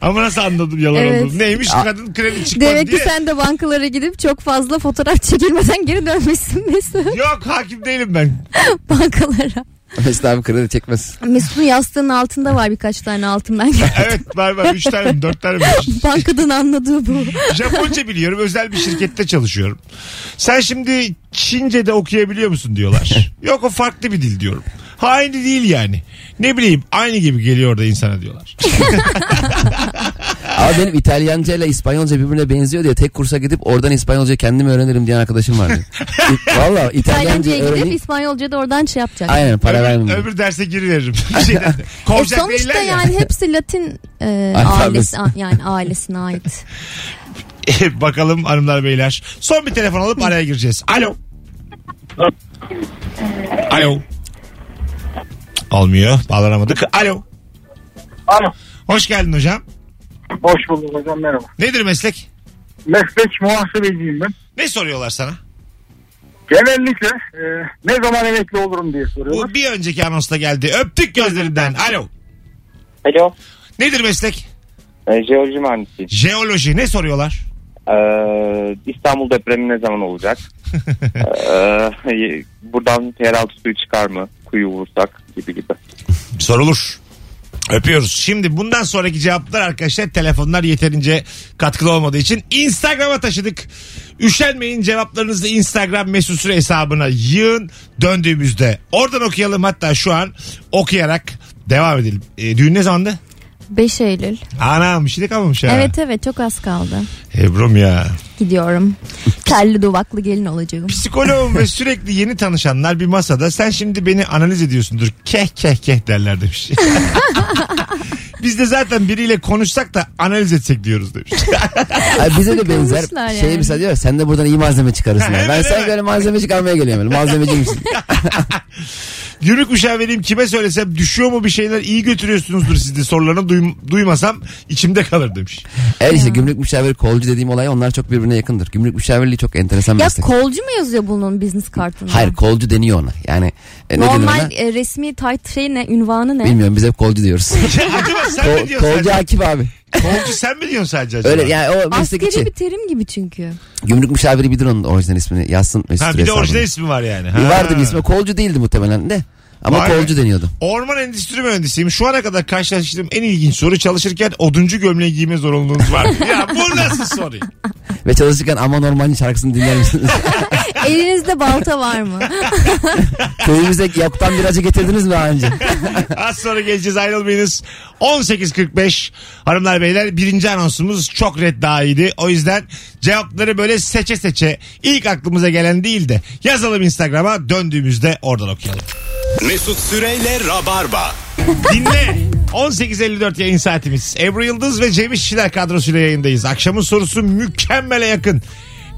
B: Ama nasıl anladım yalan
C: Evet.
B: olduğunu? Neymiş kadın kredi çıkmadı
C: Demek
B: diye.
C: ki sen de bankalara gidip çok fazla fotoğraf çekilmeden geri dönmüşsün Mesut
B: Yok hakim değilim ben.
C: bankalara.
D: Mesut abi kredi çekmez.
C: Mesut'un yastığının altında var birkaç tane altından gelen.
B: Evet var var 3 tane mi 4 tane mi?
C: Bankadan anladığı bu.
B: Japonca biliyorum. Özel bir şirkette çalışıyorum. Sen şimdi Çince de okuyabiliyor musun diyorlar. Yok o farklı bir dil diyorum. Ha aynı değil yani. Ne bileyim aynı gibi geliyor da insana diyorlar.
D: Abi benim İtalyanca ile İspanyolca birbirine benziyor diye tek kursa gidip oradan İspanyolca kendim öğrenirim diyen arkadaşım vardı. Valla İtalyanca
C: İtalyanca'ya gidip
D: öğrenip
C: İspanyolca da oradan şey yapacak.
D: Aynen para
B: öbür,
D: vermem.
B: öbür derse giriveririm. Şeyden de.
C: E
B: Kovacak
C: sonuçta
B: değiller ya.
C: yani hepsi Latin e, ailesi
D: Alfabesi.
C: a- yani ailesine ait.
B: Bakalım hanımlar beyler. Son bir telefon alıp araya gireceğiz. Alo. Alo. Almıyor. Bağlanamadık. Alo.
G: Alo.
B: Hoş geldin hocam.
G: Hoş bulduk hocam merhaba.
B: Nedir meslek?
G: Meslek muhasebeciyim ben.
B: Ne soruyorlar sana?
G: Genellikle e, ne zaman emekli olurum diye soruyorlar.
B: Bu bir önceki anonsta geldi. Öptük gözlerinden. Alo.
E: Alo.
B: Nedir meslek?
E: E, jeoloji mühendisiyim.
B: Jeoloji ne soruyorlar?
E: E, İstanbul depremi ne zaman olacak? e, buradan yeraltı suyu çıkar mı? Kuyu vursak gibi gibi.
B: Sorulur. Öpüyoruz. Şimdi bundan sonraki cevaplar arkadaşlar telefonlar yeterince katkılı olmadığı için Instagram'a taşıdık. Üşenmeyin cevaplarınızı Instagram mesut süre hesabına yığın döndüğümüzde. Oradan okuyalım hatta şu an okuyarak devam edelim. E, düğün ne zamandı?
C: 5 Eylül.
B: Anam bir şey de kalmamış ya.
C: Evet evet çok az kaldı.
B: Ebrum ya.
C: Gidiyorum. Terli duvaklı gelin olacağım.
D: şey
B: Psikoloğum ve sürekli yeni tanışanlar bir masada sen şimdi beni analiz ediyorsundur. Keh keh keh derler demiş. Biz de zaten biriyle konuşsak da analiz etsek diyoruz demiş.
D: Ay bize de benzer
C: Sıkılmışlar yani.
D: şey mesela diyor sen de buradan iyi malzeme çıkarırsın.
B: Hemen,
D: ben
B: hemen.
D: sen böyle malzeme çıkarmaya geliyorum. böyle. Malzemeci misin?
B: Gümrük müşaviriyim kime söylesem düşüyor mu bir şeyler iyi götürüyorsunuzdur siz de sorularını duym- duymasam içimde kalır demiş.
D: Evet işte gümrük müşaviri kolcu dediğim olay onlar çok birbirine yakındır. Gümrük müşavirliği çok enteresan bir
C: Ya
D: meslek.
C: kolcu mu yazıyor bunun business kartında?
D: Hayır kolcu deniyor ona. Yani e, ne denir ona?
C: Normal e, resmi tight şey ne? Ünvanı ne?
D: Bilmiyorum biz hep kolcu diyoruz.
B: Acaba sen mi
D: Kol,
B: diyorsun?
D: kolcu
B: sadece?
D: Akif abi.
B: Kolcu sen mi diyorsun sadece acaba?
D: Öyle yani o meslek
C: Askeri
D: için.
C: bir terim gibi çünkü.
D: Gümrük müşaviri bilir onun orijinal ismini. Yazsın Mesut
B: Ha,
D: Süre
B: bir de orijinal
D: hesabına.
B: ismi var yani.
D: Bir
B: Ha.
D: vardı bir ismi. Kolcu değildi muhtemelen de. Ama
B: Vay be.
D: kolcu deniyordu.
B: Orman endüstri mühendisiyim. Şu ana kadar karşılaştığım en ilginç soru çalışırken oduncu gömleği giyme zorunluluğunuz var. mı? ya bu nasıl soru?
D: Ve çalışırken Aman Ormancı şarkısını dinler misiniz?
C: Elinizde balta var mı?
D: Köyümüze yoktan biracı getirdiniz mi daha önce?
B: Az sonra geleceğiz ayrılmayınız. 18.45 hanımlar beyler birinci anonsumuz çok red daha iyiydi. O yüzden cevapları böyle seçe seçe ilk aklımıza gelen değil de yazalım Instagram'a döndüğümüzde oradan okuyalım.
A: Mesut Süreyle Rabarba.
B: Dinle. 18.54 yayın saatimiz. Ebru Yıldız ve Cem İşçiler kadrosuyla yayındayız. Akşamın sorusu mükemmele yakın.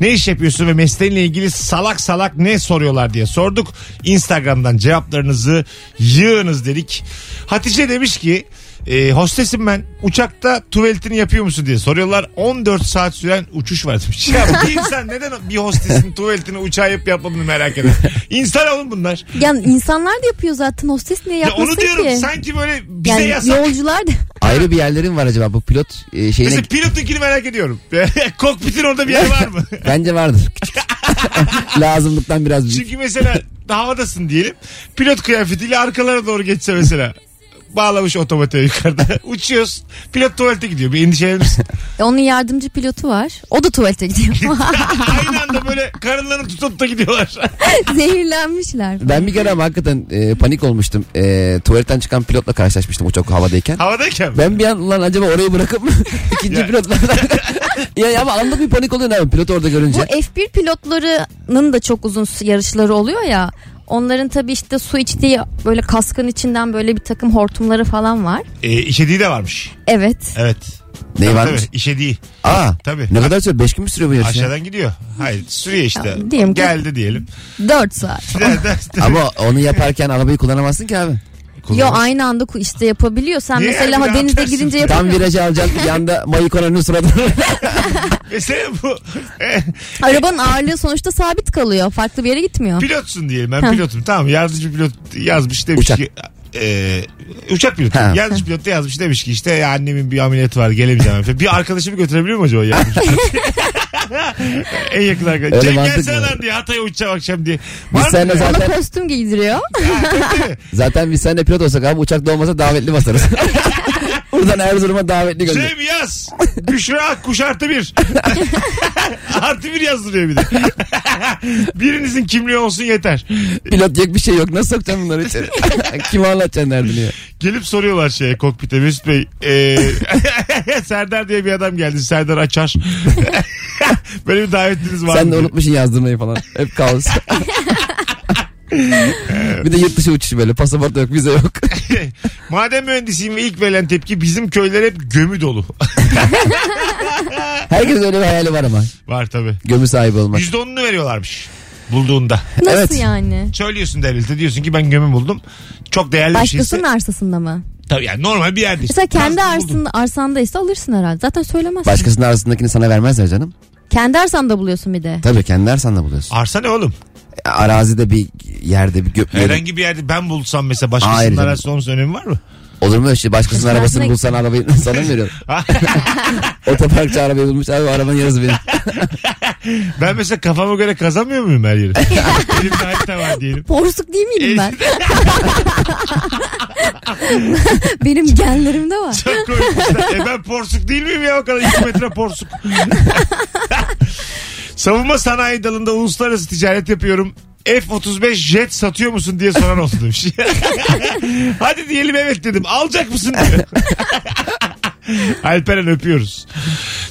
B: Ne iş yapıyorsun ve mesleğinle ilgili salak salak ne soruyorlar diye sorduk. Instagram'dan cevaplarınızı yığınız dedik. Hatice demiş ki e, hostesim ben uçakta tuvaletini yapıyor musun diye soruyorlar. 14 saat süren uçuş var demiş. Ya bir insan neden bir hostesin tuvaletini uçağa yapıp yapmadığını merak eder. İnsan olun bunlar.
C: yani insanlar da yapıyor zaten. Hostes niye
B: Ya
C: yapmasın
B: onu diyorum
C: ki?
B: sanki böyle bize
C: yani
B: yasak.
C: yolcular da
D: Ayrı bir yerlerin var acaba bu pilot e, şeyine.
B: Mesela pilotunkini merak ediyorum. Kokpitin orada bir yer var mı?
D: Bence vardır. Küçük. Lazımlıktan biraz büyük.
B: Çünkü mesela havadasın diyelim. Pilot kıyafetiyle arkalara doğru geçse mesela. Bağlamış otomatiğe yukarıda. Uçuyoruz. Pilot tuvalete gidiyor. Bir endişelenir misin?
C: E, onun yardımcı pilotu var. O da tuvalete gidiyor.
B: Aynı anda böyle karınlarını tutup da gidiyorlar.
C: Zehirlenmişler.
D: Ben bir kere ama hakikaten e, panik olmuştum. E, tuvaletten çıkan pilotla karşılaşmıştım uçak havadayken.
B: Havadayken mi?
D: Ben bir an ulan acaba orayı bırakıp mı ikinci
B: Ya.
D: pilotla ya, ya ama anlık bir panik oluyor abi pilot orada
C: Bu
D: görünce.
C: F1 pilotlarının da çok uzun su- yarışları oluyor ya. Onların tabii işte su içtiği böyle kaskın içinden böyle bir takım hortumları falan var.
B: E, işediği de varmış.
C: Evet.
B: Evet.
D: Neyi
B: Tabii,
D: varmış?
B: Tabii, işediği.
D: Aa
B: Tabii.
D: ne kadar süre? Beş gün mü sürüyor bu yarış ya?
B: Aşağıdan gidiyor. Hayır sürüyor işte.
C: Ya, diyelim ki-
B: Geldi diyelim.
C: 4 saat.
D: Ama onu yaparken arabayı kullanamazsın ki abi.
C: Yo aynı anda ku- işte yapabiliyor. Sen
B: Niye
C: mesela
B: yani?
C: ha,
B: Ne
C: denize
B: yapacaksın?
C: girince
D: Tam
C: yapamıyorsun.
D: virajı alacaksın yanda Mayıkona'nın suratı.
B: Mesela bu.
C: Arabanın ağırlığı sonuçta sabit kalıyor. Farklı bir yere gitmiyor.
B: pilotsun diyelim ben
C: Ha.
B: pilotum tamam yardımcı pilot yazmış demiş
D: Uçak.
B: ki e, uçak pilotu
D: Ha.
B: yardımcı pilot da yazmış demiş ki işte ya annemin bir ameliyatı var gelemeyeceğim efendim. bir arkadaşımı götürebiliyor mu acaba yardımcı pilot? en yakın arkadaş.
D: Öyle
B: Cem
D: mantık
B: gelsene
D: mı?
B: lan diye Hatay'a uçacağım akşam diye.
D: biz
B: Var mı?
D: seninle
C: Ona
D: zaten,
C: kostüm giydiriyor.
D: zaten biz seninle pilot olsak abi uçakta olmasa davetli basarız. Buradan Erzurum'a davetli gönder.
B: Cem yaz. Büşra Akkuş artı bir. artı bir yazdırıyor bir de. Birinizin kimliği olsun yeter.
D: Pilot yok bir şey yok. Nasıl sokacaksın bunları içeri? Kim anlatacaksın derdini ya?
B: Gelip soruyorlar şeye kokpite Mesut Bey. e, Serdar diye bir adam geldi. Serdar Açar. Böyle bir davetliniz var
D: Sen
B: mı?
D: de unutmuşsun yazdırmayı falan. Hep kaos. bir de yurt dışı uçuşu böyle. Pasaport yok, vize yok.
B: Madem mühendisiyim ve ilk verilen tepki bizim köyler hep gömü dolu.
D: Herkes öyle bir hayali var ama.
B: var tabi.
D: Gömü sahibi olmak.
B: %10'unu veriyorlarmış bulduğunda.
C: Nasıl
D: Evet.
C: yani?
B: Söylüyorsun devlete diyorsun ki ben gömü buldum. Çok
D: şey-
B: değerli bir şeyse.
C: Başkasının arsasında mı?
B: Tabii yani normal bir yerde. işte.
C: Mesela kendi
B: Biraz buldum.
C: arsında, arsandaysa alırsın herhalde. Zaten söylemezsin.
D: Başkasının arasındakini sana vermezler canım.
C: Kendi arsanda buluyorsun bir de.
D: Tabii kendi arsanda buluyorsun. E,
B: Arsa ne oğlum?
D: Arazide bir yerde bir gö-
B: Herhangi bir yerde ben bulsam
D: Hayır
B: mesela başkasının
D: canım.
B: arasında olması önemi var mı?
D: Olur mu öyle şey? Başkasının
C: Kızlar
D: arabasını
C: ne-
D: bulsan arabayı sana mı veriyorum? Otoparkçı arabayı bulmuş abi arabanın yarısı benim.
B: ben mesela kafama göre kazanmıyor muyum her yeri? Elimde harita var diyelim.
C: Porsuk değil miydim ben? Benim genlerimde var.
B: Çok koymuşlar. E ben porsuk değil miyim ya o kadar 2 metre porsuk. Savunma sanayi dalında uluslararası ticaret yapıyorum. F-35 jet satıyor musun diye soran oldu demiş. Hadi diyelim evet dedim. Alacak mısın diyor. Alperen öpüyoruz.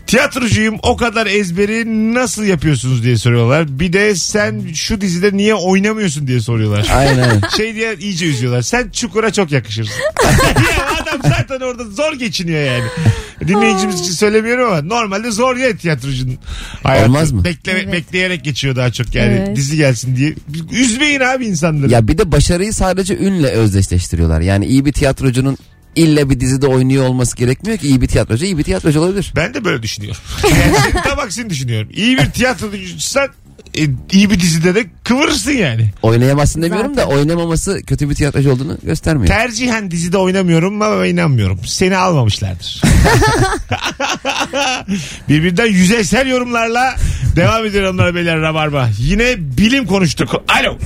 B: Tiyatrocuyum o kadar ezberi nasıl yapıyorsunuz diye soruyorlar. Bir de sen şu dizide niye oynamıyorsun diye soruyorlar.
D: Aynen.
B: Şey diye iyice üzüyorlar. Sen çukura çok yakışırsın. ya adam zaten orada zor geçiniyor yani. Dinleyicimiz için söylemiyorum ama normalde zor ya tiyatrocunun hayatı.
D: Olmaz mı?
B: Bekle,
C: Evet.
B: Bekleyerek geçiyor daha çok yani
C: Evet.
B: dizi gelsin diye. Üzmeyin abi insanları.
D: Ya bir de başarıyı sadece ünle özdeşleştiriyorlar. Yani iyi bir tiyatrocunun illa bir dizide oynuyor olması gerekmiyor ki iyi bir tiyatrocu iyi bir tiyatrocu olabilir.
B: Ben de böyle düşünüyorum. Yani senin tam aksini düşünüyorum. İyi bir tiyatrocuysan e, iyi bir dizide de kıvırırsın yani.
D: Oynayamazsın demiyorum
C: Zaten.
D: da oynamaması kötü bir tiyatrocu olduğunu göstermiyor.
B: Tercihen dizide oynamıyorum ama inanmıyorum. Seni almamışlardır. Birbirinden yüzeysel yorumlarla devam ediyor onlar beyler Rabarba. Yine bilim konuştuk. Alo.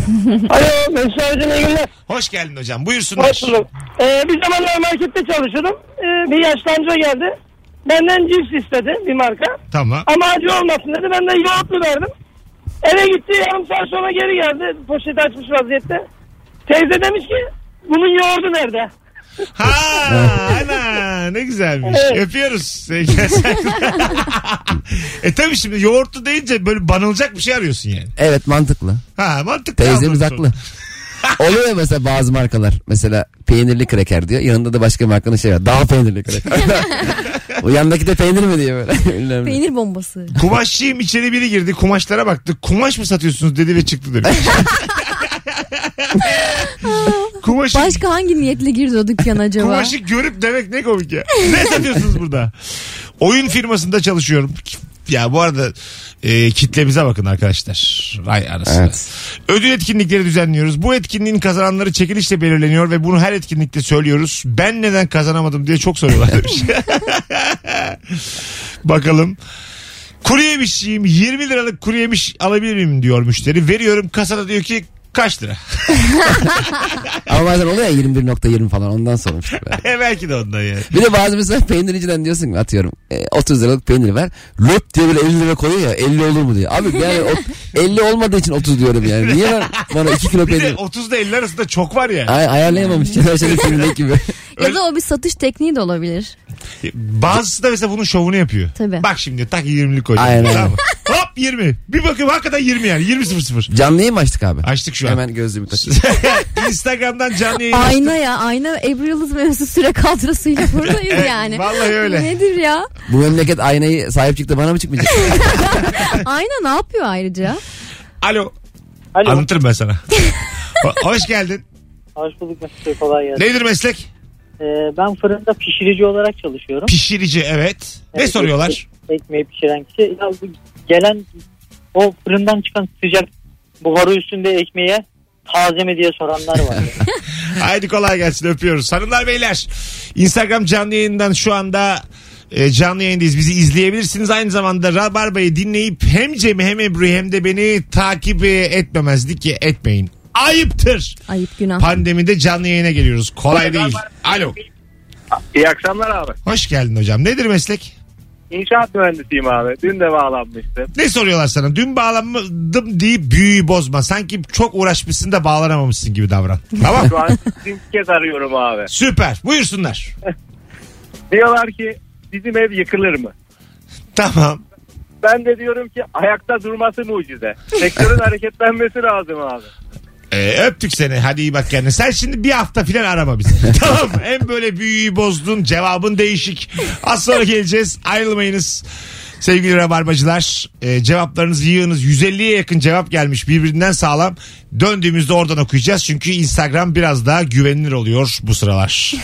E: Alo Mesut Hocam iyi günler.
B: Hoş geldin hocam. Buyursunlar.
E: Hoş bulduk. Ee, bir zamanlar markette çalışıyordum. Ee, bir yaşlı amca geldi. Benden cips istedi bir marka.
B: Tamam.
E: Ama acı olmasın dedi. Ben de yoğurtlu verdim. Eve gitti. Yarım saat sonra geri geldi. Poşeti açmış vaziyette. Teyze demiş ki bunun yoğurdu nerede?
B: Ha, ana, ne güzelmiş. Öpüyoruz. sevgili saygılar. e tabii şimdi yoğurtlu deyince böyle banılacak bir şey arıyorsun yani.
D: Evet mantıklı.
B: Ha mantıklı.
D: Teyzemiz
B: Anladım.
D: haklı. Oluyor ya mesela bazı markalar. Mesela peynirli kreker diyor. Yanında da başka markanın şey var. Daha peynirli kreker. o yandaki de peynir mi diye böyle. Bilmem ne.
C: Peynir bombası.
B: Kumaşçıyım içeri biri girdi kumaşlara baktı. Kumaş mı satıyorsunuz dedi ve çıktı demiş. kumaşı,
C: Başka hangi niyetle girdi o dükkan acaba?
B: kumaşı görüp demek ne komik ya. Ne satıyorsunuz burada? Oyun firmasında çalışıyorum. Ya bu arada e, kitlemize bakın arkadaşlar. Vay anasını.
D: Evet.
B: Ödül etkinlikleri düzenliyoruz. Bu etkinliğin kazananları çekilişle belirleniyor ve bunu her etkinlikte söylüyoruz. Ben neden kazanamadım diye çok soruyorlar demiş. Bakalım. Kuru yemiş yiyeyim, 20 liralık kuru yemiş alabilir miyim diyor müşteri. Veriyorum kasada diyor ki kaç lira?
D: Ama bazen oluyor ya 21.20 falan ondan sonra. işte böyle.
B: e belki de ondan yani.
D: Bir de bazı mesela peynirciden diyorsun ki atıyorum e, 30 liralık peynir ver. Löp diye böyle 50 lira koyuyor ya 50 olur mu diyor. Abi yani o- 50 olmadığı için 30 diyorum yani. Niye ben bana 2 kilo
B: Bir de
D: peynir...
B: 30 ile 50 arasında çok var ya.
D: Ay, ayarlayamamış Şener Şen'in filmindeki gibi.
C: Ya da o bir satış tekniği de olabilir.
B: Bazısı da mesela bunun şovunu yapıyor.
C: Tabii.
B: Bak şimdi tak 20'lik koyacağım.
D: Aynen.
B: Tamam mı? Hop 20. Bir bakıyorum hakikaten 20 yani. 20 0 0.
D: Canlıyı mı açtık abi?
B: Açtık şu an.
D: Hemen gözlüğümü takayım.
B: Instagram'dan canlı yayın açtık.
C: Ayna ya ayna Ebru Yıldız mevzusu süre kadrosuyla buradayız
B: Evet,
C: yani.
B: vallahi öyle.
C: Nedir ya?
D: Bu memleket aynayı sahip çıktı bana mı çıkmayacak?
C: Ayna ne yapıyor ayrıca?
B: Alo.
E: Alo.
B: Anlatırım ben sana. Ho- Hoş geldin.
E: Hoş bulduk Mesut Bey kolay gelsin. Ee,
B: Nedir meslek?
E: ben fırında pişirici olarak çalışıyorum.
B: Pişirici evet. Ne
E: Evet,
B: soruyorlar?
E: ekmeği pişiren kişi. Ya bu gelen o fırından çıkan sıcak buharı üstünde ekmeğe taze mi diye soranlar var.
B: Haydi kolay gelsin öpüyoruz. Hanımlar beyler Instagram canlı yayından şu anda e, canlı yayındayız. Bizi izleyebilirsiniz. Aynı zamanda Rabarba'yı dinleyip hem Cem'i hem Ebru'yu hem de beni takip e, etmemezlik ki etmeyin. Ayıptır.
C: Ayıp günah.
B: Pandemide canlı yayına geliyoruz. Kolay değil. Alo.
G: İyi akşamlar abi.
B: Hoş geldin hocam. Nedir meslek?
G: İnşaat mühendisiyim abi. Dün de bağlanmıştım.
B: Ne soruyorlar sana? Dün bağlanmadım deyip büyüyü bozma. Sanki çok uğraşmışsın da bağlanamamışsın gibi davran. Tamam.
G: Şu an ilk kez arıyorum abi.
B: Süper. Buyursunlar.
G: Diyorlar ki bizim ev yıkılır mı?
B: Tamam.
G: Ben de diyorum ki ayakta durması mucize. Sektörün hareketlenmesi lazım abi.
B: Ee, öptük seni. Hadi iyi bak kendine. Sen şimdi bir hafta filan arama bizi. tamam. Hem böyle büyüyü bozdun. Cevabın değişik. Az sonra geleceğiz. Ayrılmayınız. Sevgili rabarbacılar e, cevaplarınızı yığınız. 150'ye yakın cevap gelmiş birbirinden sağlam. Döndüğümüzde oradan okuyacağız. Çünkü Instagram biraz daha güvenilir oluyor bu sıralar.